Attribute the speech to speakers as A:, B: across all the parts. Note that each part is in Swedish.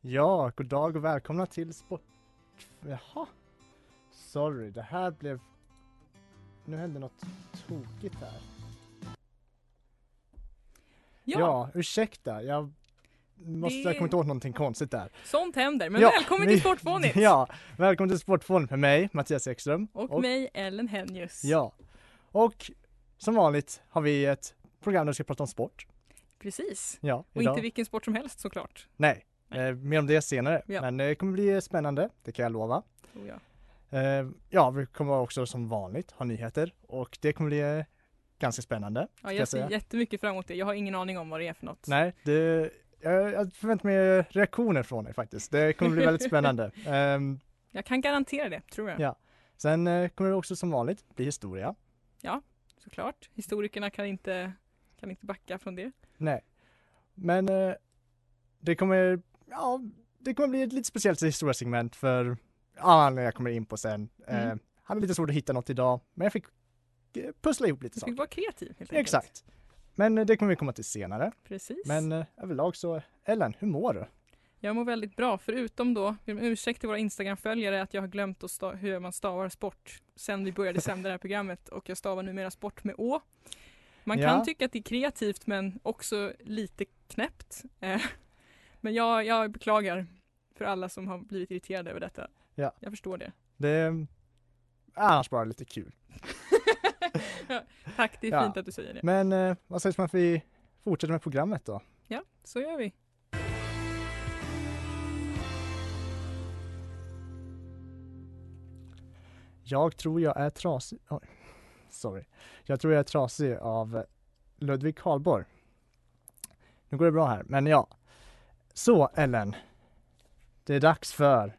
A: Ja, god dag och välkomna till sport... Jaha. Sorry, det här blev... Nu hände något tokigt här. Ja, ursäkta. Jag måste...
B: Det-
A: Jag kommer inte åt någonting konstigt där.
B: Sånt händer, men
A: Ja,
B: välkommen
A: vi-
B: till Sportfånigt!
A: Ja, välkommen till Sportfonden med mig, Mattias Ekström.
B: Och, mig, Ellen Henjus.
A: Ja. Och som vanligt har vi ett program där vi ska prata om sport.
B: Precis.
A: Ja,
B: Och
A: idag.
B: inte vilken sport som helst såklart.
A: Nej, eh, mer om det senare.
B: Ja.
A: Men eh, det kommer bli spännande, det kan jag lova.
B: Tror jag.
A: Eh, ja, vi kommer också som vanligt ha nyheter och det kommer bli eh, ganska spännande.
B: Ja,
A: jag
B: jag ser
A: säga?
B: jättemycket fram emot det. Jag har ingen aning om vad det är för något.
A: Nej, det, jag, jag förväntar mig eh, reaktioner från er faktiskt. Det kommer bli väldigt spännande. Ehm,
B: Jag kan garantera det, tror jag.
A: Ja. sen eh, kommer det också som vanligt bli historia.
B: Såklart. Historikerna kan inte, kan inte backa från det.
A: Nej, men eh, det kommer, ja, det kommer bli ett lite speciellt historiasegment för ja, anledningar jag kommer in på sen.
B: Mm.
A: Eh, hade lite svårt att hitta något idag, men jag fick eh, pussla ihop lite
B: Du fick
A: saker.
B: vara kreativ helt enkelt.
A: Exakt. Men eh, det kommer vi komma till senare.
B: Precis.
A: Men eh, överlag så, Ellen, hur mår du?
B: Jag mår väldigt bra, förutom då, vi ber om ursäkt till våra Instagram-följare att jag har glömt att sta- hur man stavar sport sen vi började sända det här programmet och jag stavar numera sport med å. Man kan
A: Ja.
B: tycka att det är kreativt men också lite knäppt. Eh, Men jag, jag beklagar för alla som har blivit irriterade över detta.
A: Ja.
B: Jag förstår det.
A: Det är annars bara lite kul.
B: Tack, det är
A: Ja.
B: fint att du säger det.
A: Men eh, vad sägs om att vi fortsätter med programmet då?
B: Ja, så gör vi.
A: Jag tror jag är trasig. Oj, sorry. Jag tror jag är trasig av Ludvig Karlborg. Nu går det bra här, men ja. Så Ellen. Det är dags för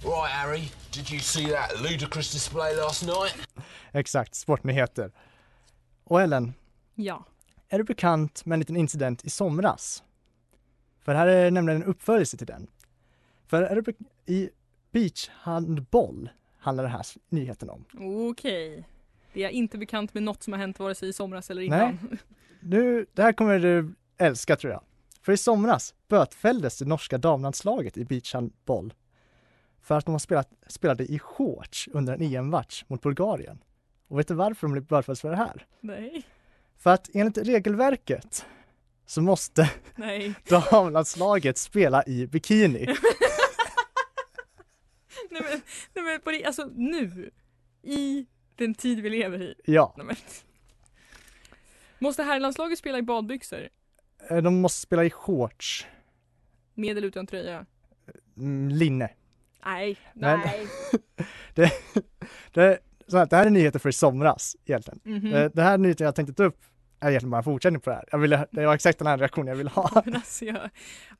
C: Right, Harry, did you see that ludicrous display last night?
A: exakt sportnyheter. Och Ellen,
B: Ja,
A: är du bekant med en liten incident i somras? För här är nämligen en uppföljelse till den. För är du bek- i beachhandboll handlar den här s- nyheten om.
B: okej. Det är inte bekant med något som har hänt vare sig i somras eller
A: Nej.
B: innan.
A: Nu, det här kommer du älska tror jag. För i somras bötfälldes det norska damlandslaget i beachhandboll för att de har spelat, spelade i shorts under en EM-match mot Bulgarien. Och vet du varför de blev bötfällda för det här?
B: Nej.
A: För att enligt regelverket så måste
B: Nej.
A: damlandslaget spela i bikini.
B: Nej men, nej men på det, alltså nu, i den tid vi lever i.
A: Ja,
B: Nej, men. Måste herrlandslaget spela i badbyxor?
A: eh, de måste spela i shorts,
B: Med eller utan tröja?
A: mm, linne.
B: Nej.
A: Men- Det, så här, det här är nyheter för i somras egentligen.
B: Mhm.
A: Eh, Det, det här nyheten jag tänkte ta upp är egentligen bara en fortsättning på det här. Jag ville, det var exakt den här reaktionen jag ville ha.
B: Men alltså jag,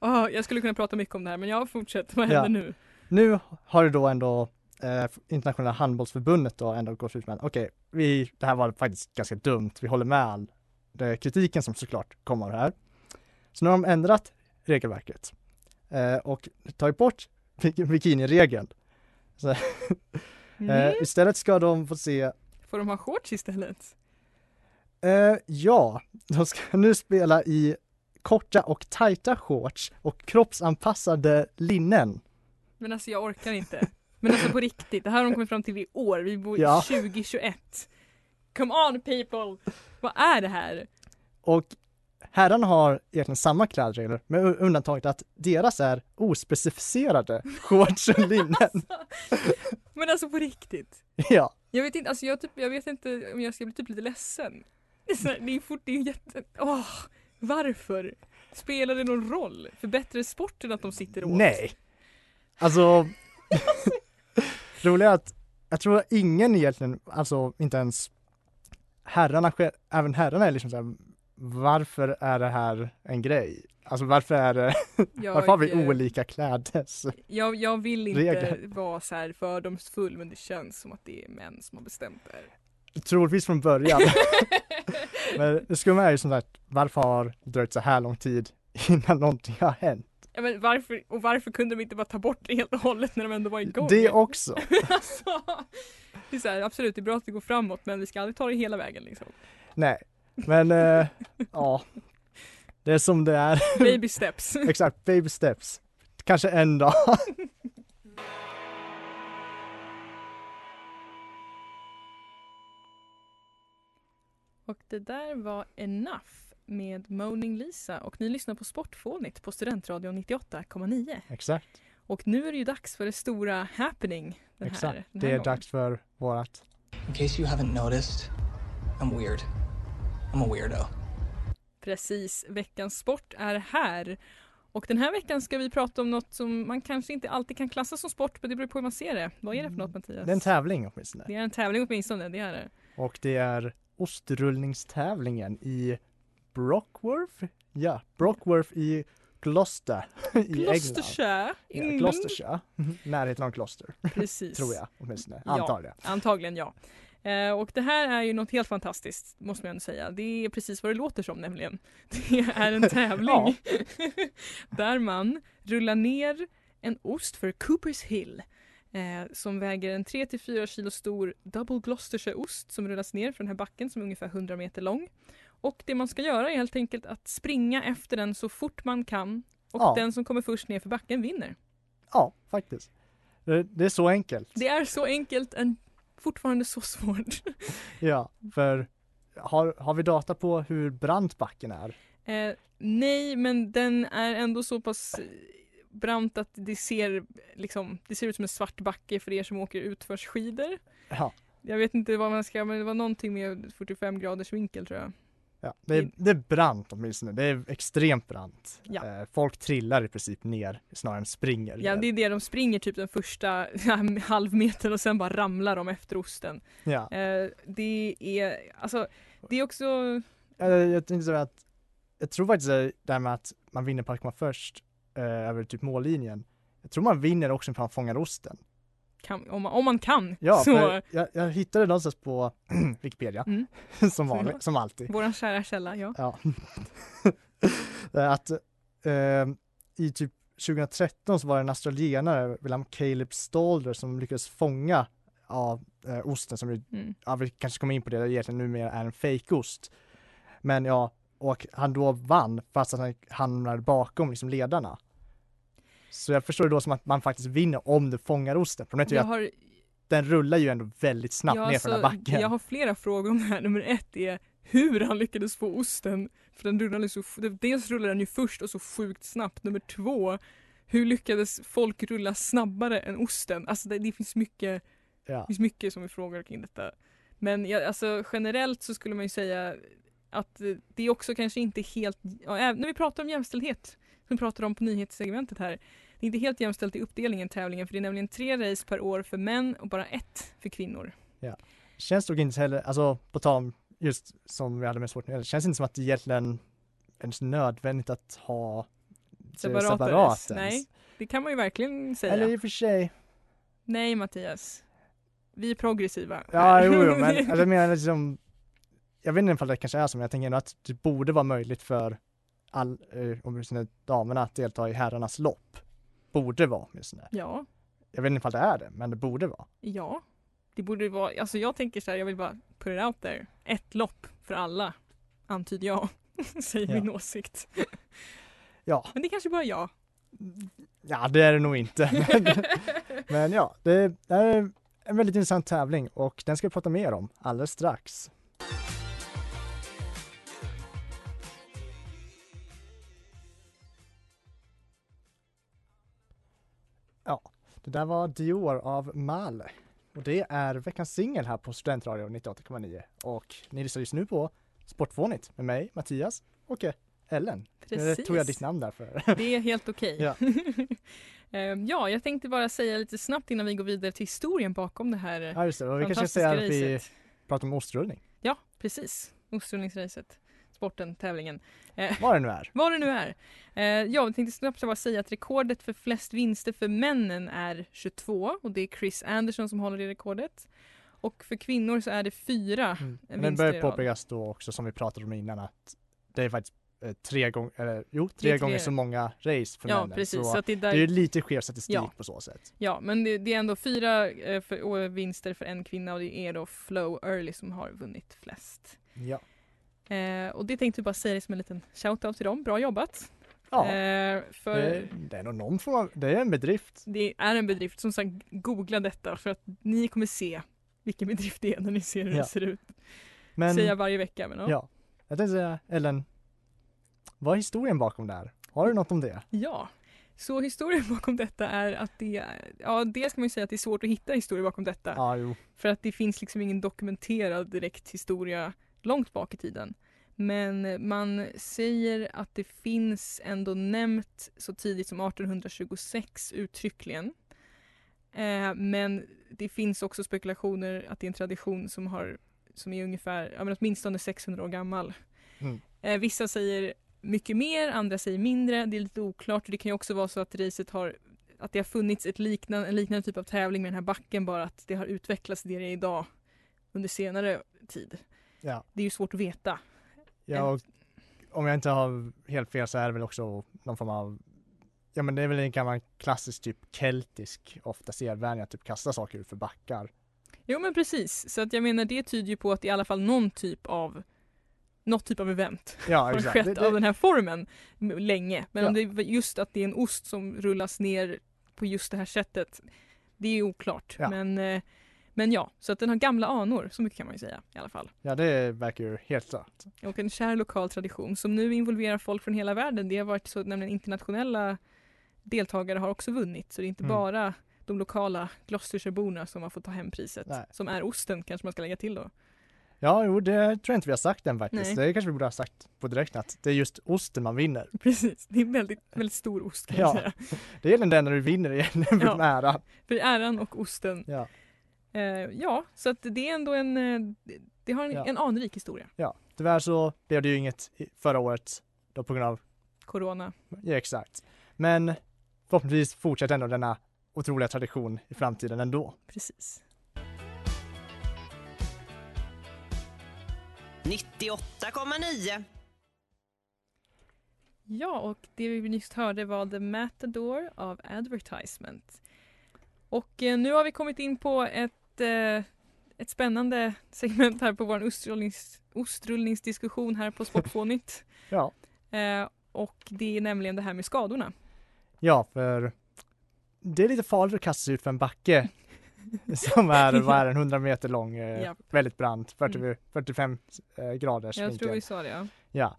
B: åh, jag skulle kunna prata mycket om det här men jag fortsätter, vad
A: Ja.
B: händer nu?
A: Nu har det då ändå eh, internationella handbollsförbundet då ändå gått ut med okej, vi, det här var faktiskt ganska dumt, vi håller med all det, kritiken som såklart kommer av det här. Så nu har de ändrat regelverket eh, och tagit bort bik- bikiniregeln. Eh,
B: Mm.
A: istället ska de få se,
B: Får de ha shorts istället?
A: eh, ja, de ska nu spela i korta och tajta shorts och kroppsanpassade linnen.
B: Men alltså jag orkar inte. Men alltså på riktigt, det här har de kommit fram till i år. Vi bor i
A: Ja.
B: 2021. Come on people! Vad är det här?
A: Och herrarna har egentligen samma klädregler med u- undantaget att deras är ospecificerade shorts och linnen.
B: Men alltså på riktigt.
A: ja,
B: Jag vet inte, alltså jag, typ, jag vet inte om jag ska bli typ lite ledsen. Det är, så här, det är fort, det är jätte... Åh, varför? Spelar det någon roll? Förbättrar det sporten att de sitter åt?
A: nej. Alltså, roliga är att jag tror ingen egentligen, alltså inte ens herrarna, själv- även herrarna är liksom så här, varför är det här en grej? Alltså varför är det,
B: Jag,
A: varför har vi
B: eh,
A: olika klädes?
B: Jag, jag vill inte
A: regler?
B: vara så här fördomsfull men det känns som att det är män som har bestämt det här.
A: Troligtvis från början. Men det skumma är ju som sagt, varför har det dröjt så här lång tid innan någonting har hänt?
B: Ja, men varför, och varför kunde de inte bara ta bort det helt och hållet när de ändå var igång?
A: Det också.
B: alltså, det är så här, absolut det är bra att det går framåt men vi ska aldrig ta det hela vägen liksom.
A: Nej, men eh, ja. Det är som det är.
B: Baby steps.
A: Exakt, baby steps. Kanske en dag.
B: Och det där var Enough med Moaning Lisa och ni lyssnar på Sportfånigt på Studentradion 98,9.
A: Exakt,
B: Och nu är det ju dags för det stora happening. Den här,
A: exakt.
B: den
A: Det
B: här
A: är
B: gången.
A: dags för vårat.
D: In case you haven't noticed, I'm weird. I'm a weirdo.
B: Precis, veckans sport är här. Och den här veckan ska vi prata om något som man kanske inte alltid kan klassa som sport men det beror på hur man ser det. Vad är det för något Mattias?
A: Mm. Det är en tävling åtminstone.
B: det är en tävling åtminstone, det är det.
A: Och det är ostrullningstävlingen i Brockworth? Ja, Brockworth i Gloucester i England.
B: Gloucestershire.
A: Ja,
B: Mm,
A: Gloucestershire. Mhm. Närheten av Gloucester,
B: Precis.
A: tror jag åtminstone.
B: Ja.
A: Antagligen.
B: Antagligen ja. Eh, och det här är ju något helt fantastiskt måste man ändå säga. Det är precis vad det låter som nämligen. Det är en tävling där man rullar ner en ost för Coopers Hill eh, som väger en 3-4 kilo stor Double Gloucestershire-ost som rullas ner från den här backen som är ungefär 100 meter lång. Och det man ska göra är helt enkelt att springa efter den så fort man kan och
A: Ja.
B: den som kommer först ner för backen vinner.
A: Ja, faktiskt. Det det är så enkelt.
B: Det är så enkelt än fortfarande så svårt.
A: Ja, för har, har vi data på hur brant backen är?
B: Eh, nej, men den är ändå så pass eh, brant att det ser, liksom, det ser ut som en svart backe för er som åker utförsskidor.
A: Ja,
B: Jag vet inte vad man ska, men det var någonting med 45 graders vinkel tror jag.
A: ja det, är, det är brant åtminstone. Det är extremt brant.
B: Ja.
A: Eh, folk trillar i princip ner snarare än springer.
B: Ja, det är det de springer typ den första halvmetern och sen bara ramlar de efter osten.
A: ja.
B: Eh, det är, alltså, det är också,
A: Eh, Jag tänkte säga att jag tror faktiskt det det här med att man vinner på att komma först eh, över typ mållinjen. Jag tror man vinner också för att man fångar osten.
B: kan, om, man, om man kan,
A: Ja,
B: så
A: för jag, jag hittade någonstans på Wikipedia,
B: Mm.
A: som, vanligt, som alltid.
B: våran kära källa, ja.
A: Ja. att eh, i typ 2013 så var det en australienare, William Caleb Stalder, som lyckades fånga av eh, osten som ju,
B: Mm.
A: ja, vi kanske kommer in på det, det egentligen numera är en fejkost. Men ja, och han då vann fast att han hamnade bakom liksom ledarna. Så jag förstår det då som att man faktiskt vinner om du fångar osten. Problemet är ju
B: Jag
A: att
B: har,
A: den rullar ju ändå väldigt snabbt
B: Ja,
A: ner från den
B: alltså,
A: här backen.
B: Jag har flera frågor om det här. Nummer ett är hur han lyckades få osten. För den rullade så, dels rullade den ju först och så sjukt snabbt. Nummer två, hur lyckades folk rulla snabbare än osten? Alltså det, det finns, mycket, det
A: Ja.
B: finns mycket som vi frågar kring detta. Men jag, alltså, generellt så skulle man ju säga att eh, det är också kanske inte helt, ja, även när vi pratar om jämställdhet, som vi pratar om på nyhetssegmentet här, det är inte helt jämställt i uppdelningen i tävlingen för det är nämligen tre race per år för män och bara ett för kvinnor.
A: känns dock inte heller, alltså på tal om just som vi hade med svårt nu, det känns inte som att det egentligen ens är nödvändigt att ha det
B: Separat
A: separat
B: race, nej.
A: ens.
B: Det kan man ju verkligen säga.
A: Eller i och för sig,
B: Nej Mattias. Vi är progressiva.
A: ja jo, jo men alltså, jag menar liksom, jag vet inte ifall det kanske är så, men jag tänker ändå att det borde vara möjligt för all, eh, åtminstone damerna att delta i herrarnas lopp. Borde vara åtminstone.
B: ja,
A: Jag vet inte ifall det är det, men det borde vara.
B: ja. Det borde ju vara, alltså jag tänker så här, jag vill bara put it out there. Ett lopp för alla, antyder jag. Säger
A: Ja.
B: min åsikt.
A: Ja,
B: Men det kanske bara är jag.
A: Ja, det är det nog inte. Men, men ja, det är en väldigt intressant tävling och den ska vi prata mer om alldeles strax. Ja, det där var Dior av Mal. Och det är veckans singel här på Studentradion 98,9. Och ni lyssnar just nu på Sportfånigt med mig, Mattias och eh, Ellen. Nu
B: Precis.
A: tog jag ditt namn där för.
B: Det är helt okej.
A: Ja.
B: Ehm, ja, jag tänkte bara säga lite snabbt innan vi går vidare till historien bakom det här eh,
A: Ja, just det. Och Vi kanske ska
B: fantastiska
A: säga att vi
B: racet.
A: pratar om ostrullning,
B: Ja, precis. Ostrullningsracet, sporten, tävlingen.
A: vad det nu är.
B: Vad det nu är. Eh, ja, jag tänkte snabbt bara säga att rekordet för flest vinster för männen är 22 och det är Chris Anderson som håller det rekordet. Och för kvinnor så är det fyra
A: Mm.
B: vinster
A: Men
B: i
A: bör
B: rad.
A: påpekas då också som vi pratade om innan att det är faktiskt eh, tre gånger, eller jo, tre,
B: tre.
A: gånger så många race för
B: Ja,
A: männen.
B: precis.
A: Så,
B: Så att det är
A: det
B: där,
A: är ju lite skev statistik
B: Ja.
A: på så sätt.
B: Ja, men det, det är ändå fyra eh, för, och vinster för en kvinna och det är då Flow Early som har vunnit flest.
A: Ja.
B: Eh, och det tänkte jag bara säga som en liten shout-out till dem. Bra jobbat!
A: Ja,
B: Eh, för
A: det, det är nog någon form av, det är en bedrift.
B: det är en bedrift. Som sagt, googla detta för att ni kommer se vilken bedrift det är när ni ser hur
A: Ja.
B: det ser ut.
A: Men,
B: Säger jag varje vecka. Men, ja.
A: ja. Jag tänkte säga, Ellen, vad är historien bakom det här? Har du något om det?
B: Ja, så historien bakom detta är att det, ja dels kan man ju säga att det är svårt att hitta historier bakom detta.
A: Ja, jo.
B: För att det finns liksom ingen dokumenterad direkt historia långt bak i tiden. Men man säger att det finns ändå nämnt så tidigt som 1826 uttryckligen. Eh, men det finns också spekulationer att det är en tradition som, har, som är ungefär, ja, men åtminstone 600 år gammal.
A: Mm.
B: Eh, vissa säger mycket mer, andra säger mindre. Det är lite oklart. Det kan ju också vara så att racet har att det har funnits ett liknande, en liknande typ av tävling med den här backen bara att det har utvecklats till det det är idag under senare tid.
A: Ja.
B: Det är ju svårt att veta.
A: Ja, och om jag inte har helt fel så är det väl också någon form av Ja men det är väl en gammal klassisk typ keltisk ofta sedvänja att typ kasta saker ut för backar.
B: Jo men precis, så att jag menar det tyder ju på att det är i alla fall någon typ av något typ av event
A: Ja
B: har
A: exakt.
B: skett
A: Det- det-
B: av den här formen m- länge. Men
A: Ja.
B: om det är just att det är en ost som rullas ner på just det här sättet, det är oklart.
A: Ja.
B: Men, eh, men ja, så att den har gamla anor, så mycket kan man ju säga i alla fall.
A: Ja, det verkar ju helt klart.
B: och en kär lokal tradition som nu involverar folk från hela världen. Det har varit så att nämligen internationella deltagare har också vunnit så det är inte
A: Mm.
B: bara de lokala Gloucestershire-borna som har fått ta hem priset.
A: Nej.
B: Som är osten kanske man ska lägga till då.
A: Ja, jo, det tror jag inte vi har sagt än faktiskt.
B: Nej.
A: Det kanske vi borde ha sagt på direkten att det är just osten man vinner.
B: Precis, det är en väldigt, väldigt stor ost kan
A: Ja.
B: jag säga.
A: Det är den där när du vinner egentligen,
B: Ja.
A: ja. nära.
B: För äran och osten.
A: Ja.
B: Eh, ja, så att det är ändå en, eh, det har en,
A: Ja.
B: en anrik historia.
A: ja, tyvärr så blev det ju inget i- förra året då på grund av,
B: Corona.
A: ja exakt. Men förhoppningsvis fortsätter ändå denna otroliga tradition i framtiden ändå.
B: Precis.
E: 98,9.
B: Ja, och det vi nyss hörde var The Matador av Advertisement. Och eh, nu har vi kommit in på ett, eh, ett spännande segment här på vår ostrullnings, ostrullningsdiskussion här på Sportfånigt.
A: Ja,
B: eh, och det är nämligen det här med skadorna.
A: ja för det är lite farligt att kasta sig ut för en backe som är, vad är den, 100 meter lång, eh,
B: Ja.
A: väldigt brant, 40,
B: Mm.
A: 45 eh, graders
B: Jag tror
A: vinkel.
B: vi sa det ja.
A: Ja,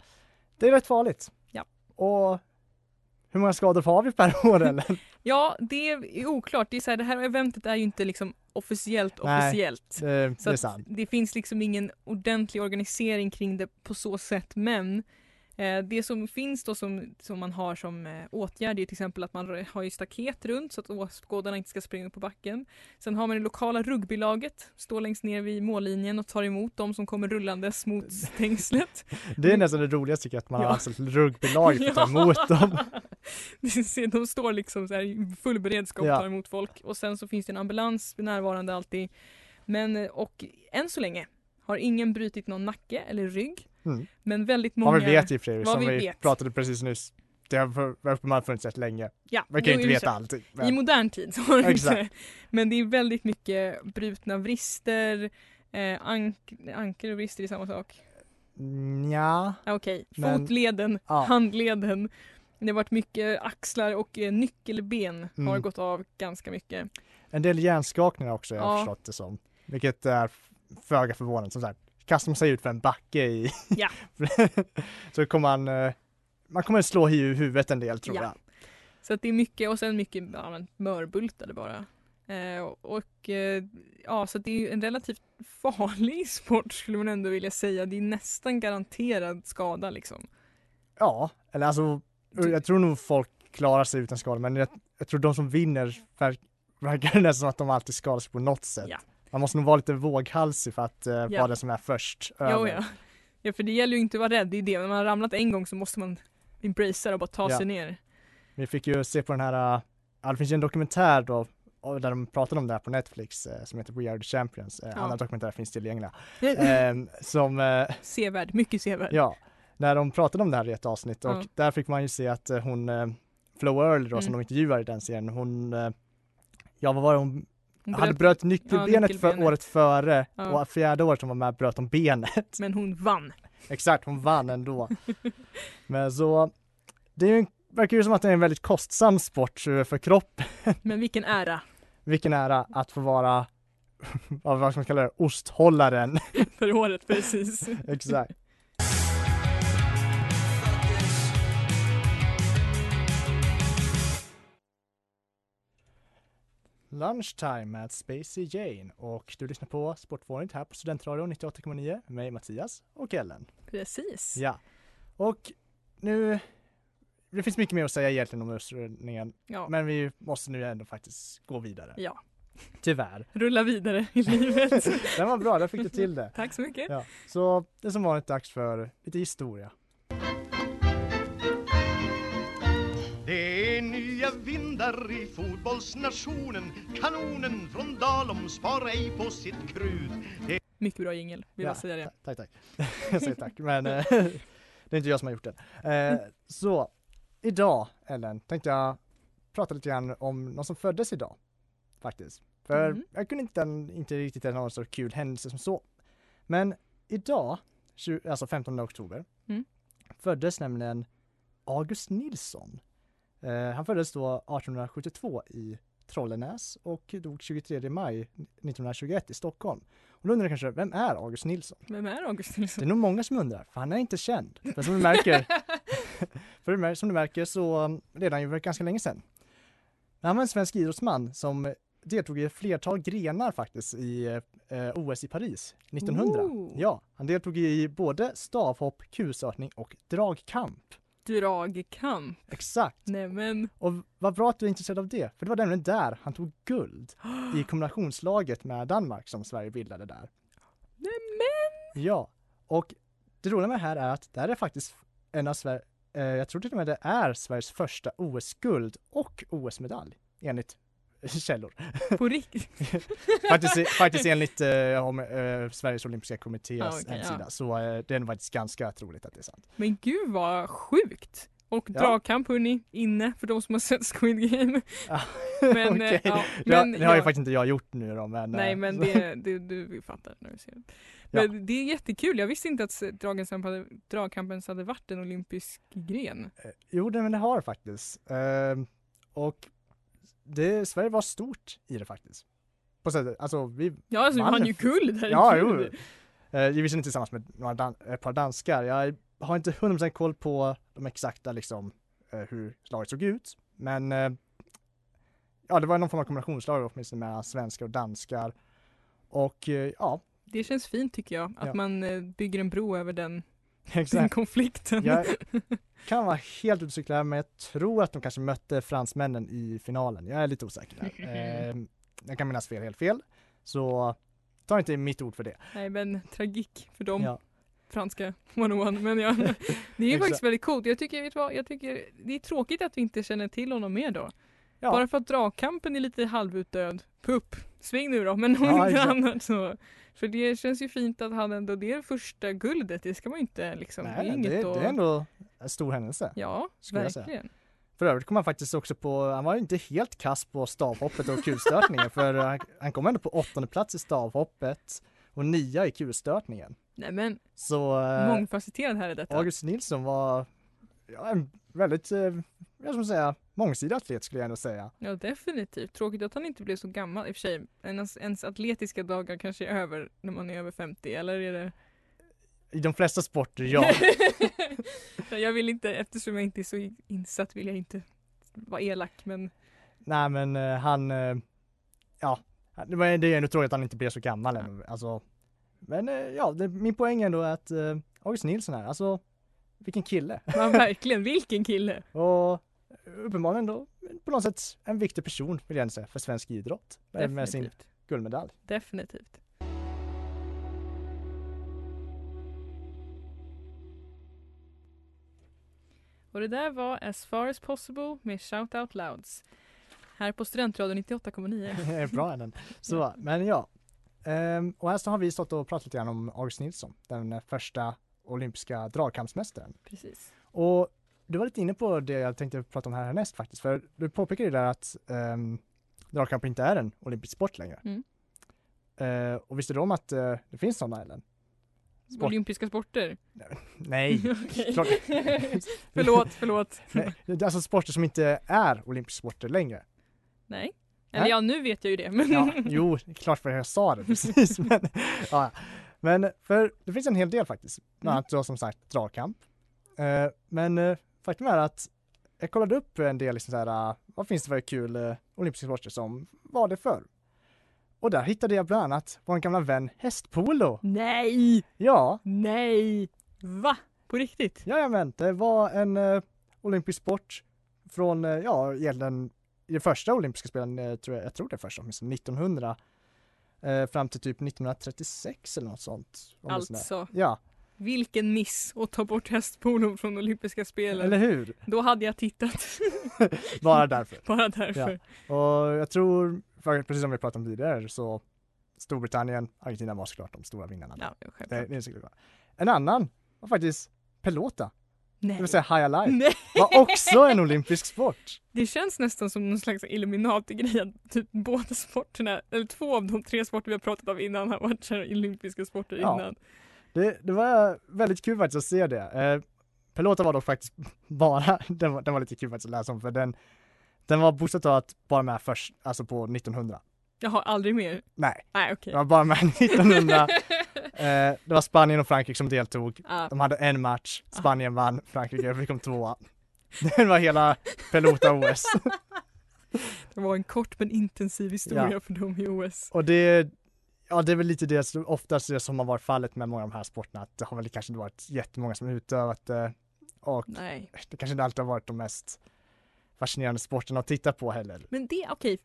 A: det är rätt farligt.
B: Ja.
A: Och hur många skador har vi per år eller? Eh,
B: Ja, det är oklart. Det, är så här, det här eventet är ju inte liksom officiellt
A: Nej.
B: officiellt.
A: Det,
B: Så
A: det är
B: att
A: sant.
B: det finns liksom ingen ordentlig organisering kring det på så sätt men eh, det som finns då som, som man har som eh, åtgärd är ju till exempel att man r- har ju staket runt så att åskådarna inte ska springa upp på backen. Sen har man det lokala rugbylaget, står längst ner vid mållinjen och tar emot de som kommer rullandes mot stängslet.
A: Det är nästan det roligaste tycker jag, att man
B: Ja.
A: har anställt rugbylag för att ta
B: Ja.
A: emot dem. Mm.
B: Det ser- de står liksom så här i full beredskap och
A: Ja.
B: tar emot folk och sen så finns det en ambulans närvarande alltid. Men eh, och än så länge har ingen brutit någon nacke eller rygg.
A: Mm.
B: Men väldigt
A: Vad
B: många...
A: vi vet i och för sig,
B: Vad
A: som
B: vi
A: vi,
B: vet.
A: pratade precis nyss. Det har för- uppenbarligen funnits rätt länge.
B: Ja,
A: Man
B: jo,
A: kan ju inte
B: i och för
A: veta
B: sig.
A: allting.
B: I
A: Men,
B: modern tid så har det inte.
A: Exakt.
B: Men det är väldigt mycket brutna vrister, eh, ank ankel och vrister är samma sak.
A: ja,
B: Ah, Okej,
A: Men-
B: fotleden,
A: Ja.
B: handleden Det har varit mycket axlar och eh, nyckelben har
A: Mm.
B: gått av ganska mycket.
A: En del hjärnskakningar också har jag
B: Ja.
A: förstått det som. Vilket är föga förvånande. Som sagt, kastar man sig ut för en backe i...
B: Ja.
A: så kommer man... eh, Man kommer slå i huvudet en del tror
B: Ja.
A: jag.
B: Så att det är mycket och sen mycket ja, men, mörbultade bara. Eh, och eh, ja, så att det är ju en relativt farlig sport skulle man ändå vilja säga. Det är nästan garanterad skada liksom.
A: Ja, eller alltså... Jag tror nog folk klarar sig utan skador men jag, jag tror de som vinner verk, verkar det nästan som att de alltid skadar sig på något sätt.
B: Ja.
A: Man måste nog vara lite våghalsig för att eh, vara
B: Ja.
A: den som är först.
B: Ja,
A: över.
B: ja. ja, för det gäller ju inte att vara rädd. Det är ju det. När man har ramlat en gång så måste man embracea det och bara ta
A: Ja.
B: sig ner.
A: Vi fick ju se på den här, äh, ja, det finns ju en dokumentär då och där de pratade om det här på Netflix eh, som heter We Are The Champions. Eh,
B: Ja.
A: Andra dokumentärer finns tillgängliga. Ehm, som, eh,
B: sevärd, mycket sevärd.
A: ja, när de pratade om det här i ett avsnitt och
B: Ja.
A: där fick man ju se att eh, hon, eh, Flo Earl då som
B: Mm.
A: de intervjuar i den serien, hon, eh, ja vad var det, hon
B: Hon
A: hade
B: bröt-
A: bröt nyckelbenet, För
B: nyckelbenet.
A: året före
B: Ja.
A: och fjärde året hon var med bröt hon benet.
B: Men hon vann.
A: Exakt, hon vann ändå. Men så, det är ju, en- verkar ju som att det är en väldigt kostsam sport eh, för kroppen.
B: Men vilken ära
A: vilken ära att få vara, vad vad ska man kalla det, osthållaren.
B: för året precis.
A: Exakt. Lunchtime at Spacey Jane och du lyssnar på Sportfånigt här på Studentradion 98,9 med mig Mattias och Ellen.
B: Precis.
A: Ja. Och nu, det finns mycket mer att säga egentligen om utställningen
B: Ja.
A: men vi måste nu ändå faktiskt gå vidare.
B: ja.
A: Tyvärr.
B: Rulla vidare i livet.
A: Den var bra, där fick du till det.
B: Tack så mycket.
A: Ja, så det är som vanligt dags för lite historia.
F: Det är nya vindar i fotbollsnationen Kanonen från Dalom spar ej på sitt krut
B: Mycket bra jingel, vill
A: ja,
B: jag säga det.
A: ta- Tack, tack. jag säger tack, men eh, det är inte jag som har gjort den. Eh,
B: Mm.
A: så, idag Ellen, tänkte jag prata lite grann om någon som föddes idag. Faktiskt. För
B: Mm.
A: jag kunde inte, inte riktigt hitta någon så kul händelse som så. Men idag, tju- alltså 15 oktober,
B: Mm.
A: föddes nämligen August Nilsson. Eh, han föddes då 1872 i Trollenäs och dog 23 maj 1921 i Stockholm. Och då undrar jag kanske, vem är August Nilsson?
B: Vem är August
A: Det
B: Nilsson?
A: är nog många som undrar, för han är inte känd. Men som du märker, för du mär- som du märker så um, redan ju för ganska länge sedan. Men han var en svensk idrottsman som deltog i ett flertal grenar faktiskt i eh, OS i Paris 1900.
B: Ooh.
A: Ja, han deltog i både stavhopp, kusörtning och dragkamp.
B: Dragkamp.
A: Exakt.
B: Nämen.
A: Och vad bra att du är intresserad av det, för det var nämligen där han tog guld i kombinationslaget med Danmark som Sverige bildade där.
B: Nämen!
A: Ja, och det roliga med det här är att det här är faktiskt en av Sverige, eh, jag tror till och med det är Sveriges första OS-guld och OS-medalj enligt källor.
B: På riktigt.
A: Faktiskt, faktiskt enligt eh, om, eh, Sveriges olympiska kommittés
B: Ja, okej, ja.
A: hemsida, så eh, det är nog faktiskt ganska troligt att det är sant.
B: Men gud vad sjukt. Och
A: Ja.
B: dragkamp hörni, inne för de som har sett Squid Game.
A: Ja,
B: Men,
A: okej.
B: eh, ja,
A: det, har-
B: men
A: det har ju
B: jag-
A: faktiskt inte jag gjort nu då, men...
B: Nej
A: eh,
B: men det, det, du fattar när du ser det. Men det är jättekul, jag visste inte att dragkampen hade, dragkampen ens hade varit en olympisk gren.
A: eh, Jo, det, men det har det faktiskt. Ehm, och det, Sverige var stort i det faktiskt. På sättet, alltså vi,
B: Ja alltså
A: Mannen-
B: han ju guld, herregud.
A: ja jo. Eh, givetvis inte tillsammans med några dan- ett par danskar. Jag har inte 100% koll på de exakta liksom eh, hur laget såg ut. Men eh, ja, det var någon form av kombinationslag åtminstone mellan svenskar och danskar. Och eh, ja,
B: Det känns fint tycker jag, att
A: Ja.
B: man eh, bygger en bro över den, den
A: exakt.
B: konflikten.
A: Jag kan vara helt ute och cykla här, men jag tror att de kanske mötte fransmännen i finalen. Jag är lite osäker där. Eh, jag kan minnas fel, helt fel. Så ta inte mitt ord för det.
B: Nej men tragik för dem,
A: Ja.
B: franska 101. Men ja, det är ju
A: Exakt.
B: faktiskt väldigt coolt. Jag tycker, vet du vad, jag tycker det är tråkigt att vi inte känner till honom mer då.
A: Ja.
B: Bara för att dragkampen är lite halvutdöd. Pupp, sving nu då, men om
A: Ja,
B: inte
A: exakt.
B: annat så. För det känns ju fint att han ändå, det är det första guldet, det ska man ju inte liksom, det är
A: Nej, det,
B: inget
A: det
B: att-
A: är ändå en stor händelse.
B: Ja,
A: skulle jag säga.
B: verkligen.
A: För övrigt kom han faktiskt också på, han var ju inte helt kass på stavhoppet och kulstötningen för han, han kom ändå på åttonde plats i stavhoppet och nia i kulstötningen.
B: Nej men,
A: Så eh,
B: mångfacetterad här är detta.
A: August Nilsson var ja, en väldigt, eh, jag ska säga, mångsidig atlet skulle jag ändå säga.
B: Ja, definitivt. Tråkigt att han inte blev så gammal i och för sig. Ens, ens atletiska dagar kanske är över när man är över 50, eller är det?
A: I de flesta sporter, ja.
B: Nej, jag vill inte, eftersom jag inte är så insatt vill jag inte vara elak, men
A: Nej men eh, han, eh, ja, det, var, det är ändå tråkigt att han inte blev så gammal än. Alltså, men eh, ja, det, min poäng är ändå att eh, August Nilsson här, alltså vilken kille.
B: man, verkligen, vilken kille!
A: Och uppenbarligen då på något sätt en viktig person vill jag ändå säga för svensk idrott. Med, med sin
B: Definitivt.
A: guldmedalj.
B: Definitivt. Och det där var As far as possible med Shout Out Louds. Här på Studentradion 98,9.
A: Det är Bra är den. Så, men ja. Ehm, och här så har vi stått och pratat lite grann om August Nilsson, den första olympiska dragkampsmästaren.
B: Precis.
A: Och du var lite inne på det jag tänkte prata om här härnäst faktiskt, för du påpekade ju där att um, dragkamp inte är en olympisk sport längre.
B: Mm.
A: Eh, och visste du om att eh, det finns sådana Ellen? Sport.
B: Olympiska sporter.
A: Nej,
B: Okej.
A: klart.
B: förlåt, förlåt.
A: Nej, det är alltså sporter som inte är olympiska sporter längre.
B: Nej. Eller
A: Nej.
B: ja, nu vet jag ju det. Men
A: Ja, jo, klart för jag sa det precis. Men, ja. men för det finns en hel del faktiskt, bland annat då som sagt dragkamp. Eh, men eh, faktum är att jag kollade upp en del, liksom så här, eh, vad finns det för kul eh, olympiska sporter som var det förr? Och där hittade jag bland annat vår gamla vän hästpolo.
B: Nej!
A: Ja,
B: Nej! Va? På riktigt?
A: jajamän, det var en eh, olympisk sport från, eh, ja, egentligen i de första olympiska spelen, eh, tror jag, jag tror det är första, åtminstone 1900, eh, fram till typ 1936 eller något sånt. Om det är sådär.
B: Alltså,
A: Ja,
B: vilken miss att ta bort hästpolon från olympiska spelen.
A: eller hur?
B: Då hade jag tittat,
A: Bara därför.
B: bara därför.
A: Och jag tror, för- precis som vi pratade om tidigare, så Storbritannien, Argentina var såklart de stora vinnarna.
B: Ja, jag
A: Det,
B: skämtar.
A: det är såklart. En annan var faktiskt pelota, det
B: Nej.
A: vill säga High Alive,
B: Nej.
A: var också en olympisk sport.
B: Det känns nästan som någon slags Illuminati-grej att typ båda sporterna, eller två av de tre sporter vi har pratat om innan har varit så här olympiska sporter
A: Ja.
B: innan.
A: Det, det var väldigt kul faktiskt att se det. Eh, pelota var dock faktiskt bara, den var, den var lite kul faktiskt att läsa om för den, den var bokstavligt bara med först, alltså på 1900.
B: Jag har aldrig mer.
A: Nej,
B: Nej okej.
A: den var bara med 1900. Eh, det var Spanien och Frankrike som deltog.
B: Ja.
A: De hade en match, Spanien vann, Frankrike fick kom tvåa. Det var hela Pelota-OS.
B: Det var en kort men intensiv historia
A: Ja.
B: för dem i OS.
A: Och det, ja det är väl lite det, som- oftast det som har varit fallet med många av de här sporterna, att det har väl kanske inte varit jättemånga som utövat det. Och
B: Nej.
A: det kanske inte alltid har varit de mest fascinerande sporterna att titta på heller.
B: Men det, okej.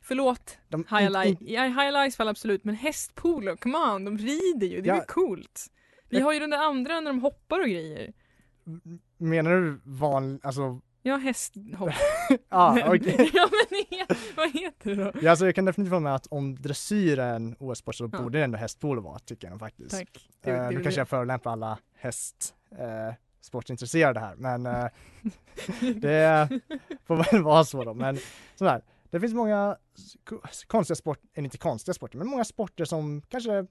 B: Förlåt,
A: De,
B: highlight.
A: mm.
B: Ja, highlights fall absolut, men hästpolo, come on, de rider ju, det är
A: Ja.
B: väl coolt. Vi har ju den där andra när de hoppar och grejer.
A: menar du van, alltså,
B: Ja, hästhopp.
A: ja Ah, okej.
B: ja men he- vad heter det då?
A: Ja, alltså jag kan definitivt vara med att om dressyr är en OS-sport så
B: Ja.
A: borde det ändå hästpolo vara, tycker jag nog faktiskt.
B: Tack. Det-
A: Eh,
B: det-
A: nu
B: det-
A: kanske jag förolämpar alla hästsportintresserade eh, sportintresserade här, men eh, det får väl vara så då. Men sådär, det finns många s- ko- konstiga sporter, eller inte konstiga sporter, men många sporter som kanske,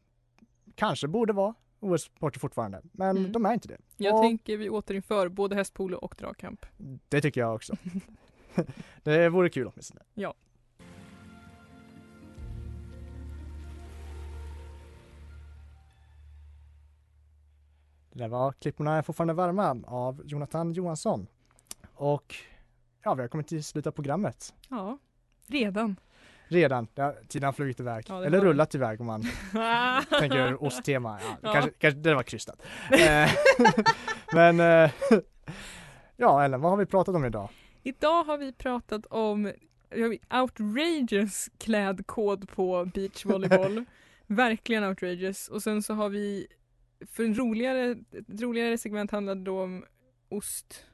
A: kanske borde vara OS-sporter fortfarande, men
B: Mm.
A: de är inte det.
B: Jag
A: Och
B: tänker vi återinför både hästpolo och dragkamp.
A: Det tycker jag också. det vore kul åtminstone. Det där var Klipporna är fortfarande varma av Jonathan Johansson. Och ja, vi har kommit till slutet av programmet
B: Ja, redan.
A: redan. Det har, tiden har flugit iväg.
B: Ja, det
A: Eller
B: har den.
A: rullat iväg om man tänker osttema. Ja,
B: Ja.
A: Kanske, kanske det var krystat. Eh, Men eh, ja, Ellen, vad har vi pratat om idag?
B: Idag har vi pratat om vi har outrageous klädkod på beachvolleyboll. Verkligen outrageous. Och sen så har vi, för en roligare, ett roligare segment handlade då om ost.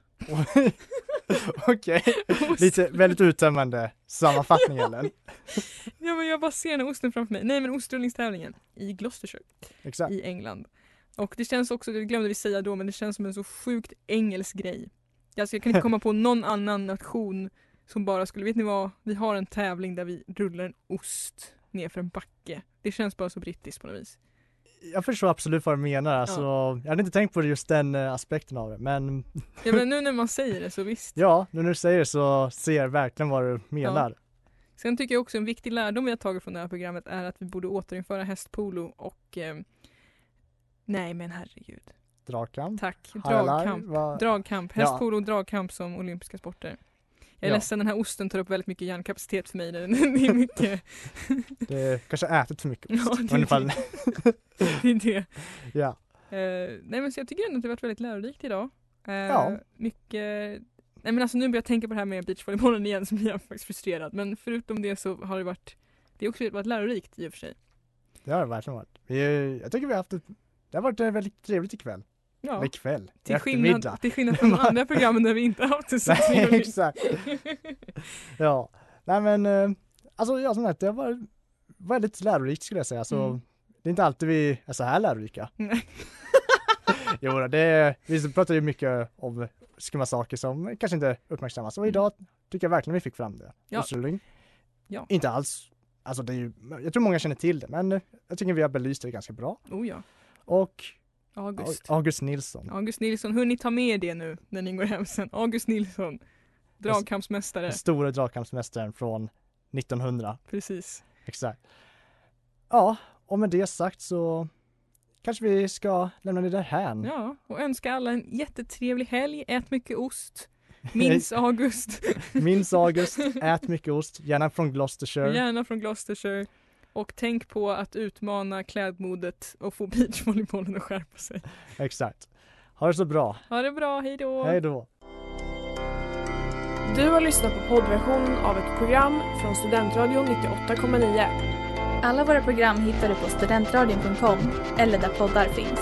A: Okej,
B: ost.
A: lite väldigt uttömmande sammanfattning Ellen.
B: Ja men jag bara ser den här osten framför mig. Nej men ostrullningstävlingen i Gloucestershire.
A: Exakt.
B: i England. Och det känns också, det glömde vi säga då, men det känns som en så sjukt engelsk grej. Alltså jag kan inte komma på någon annan nation som bara skulle, vet ni vad, vi har en tävling där vi rullar en ost ner för en backe. Det känns bara så brittiskt på något vis.
A: jag förstår absolut vad du menar. Alltså, Jag hade inte tänkt på just den eh, aspekten av det. Men
B: Ja men nu när man säger det så visst.
A: ja, nu när du säger det så ser jag verkligen vad du menar.
B: Sen tycker jag också en viktig lärdom vi har tagit från det här programmet är att vi borde återinföra hästpolo och eh, Nej men herregud.
A: Drakan.
B: Tack.
A: Haralai,
B: Dragkamp.
A: vad-
B: Dragkamp.
A: Ja.
B: Hästpolo och dragkamp som olympiska sporter. Jag är
A: Ja.
B: ledsen, den här osten tar upp väldigt mycket hjärnkapacitet för mig. Det är mycket,
A: Det kanske har ätit för mycket
B: Ja,
A: ost.
B: det-
A: i alla fall.
B: det är det.
A: ja.
B: Eh, nej men så jag tycker ändå att det har varit väldigt lärorikt idag. Eh,
A: Ja.
B: Mycket, nej men alltså nu börjar jag tänka på det här med beachvolleybollen igen så blir jag faktiskt frustrerad. Men förutom det så har det varit, det har också varit lärorikt i och för sig.
A: Det har det verkligen varit. Vi, jag tycker vi har haft ett, det har varit eh, väldigt trevligt ikväll.
B: Ja.
A: Eller ikväll.
B: Till
A: eftermiddag.
B: skillnad, till skillnad från de andra programmen där vi inte har haft det så
A: Nej,
B: trevligt.
A: exakt. Ja, nej men eh, alltså jag som sagt, det var väldigt lärorikt skulle jag säga. Så
B: Mm.
A: Det är inte alltid vi är så här lärorika.
B: Nej.
A: jo, då, det, vi pratar ju mycket om skumma saker som kanske inte uppmärksammas och idag tycker jag verkligen vi fick fram det.
B: Mm. Ja.
A: Ursuling.
B: Ja.
A: Inte alls, alltså det är ju, jag tror många känner till det men eh, jag tycker vi har belyst det ganska bra.
B: Oh ja,
A: Och
B: August.
A: August Nilsson.
B: August Nilsson, hör ni ta med det nu när ni går hem sen. August Nilsson, dragkampsmästare.
A: Den stora dragkampsmästaren från 1900.
B: Precis.
A: Exakt. Ja, och med det sagt så kanske vi ska lämna det där här.
B: Ja, och önska alla en jättetrevlig helg. Ät mycket ost. Minns August.
A: Minns August, ät mycket ost, gärna från Gloucestershire.
B: Gärna från Gloucestershire. Och tänk på att utmana klädmodet och få beachvolleybollen att skärpa sig.
A: Exakt. Ha det så bra.
B: Ha det bra, hej då!
A: Hej då.
G: Du har lyssnat på poddversionen av ett program från Studentradion 98,9.
H: Alla våra program hittar du på studentradion.com eller där poddar finns.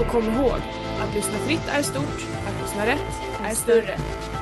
G: Och kom ihåg, att lyssna fritt är stort, att lyssna rätt är större.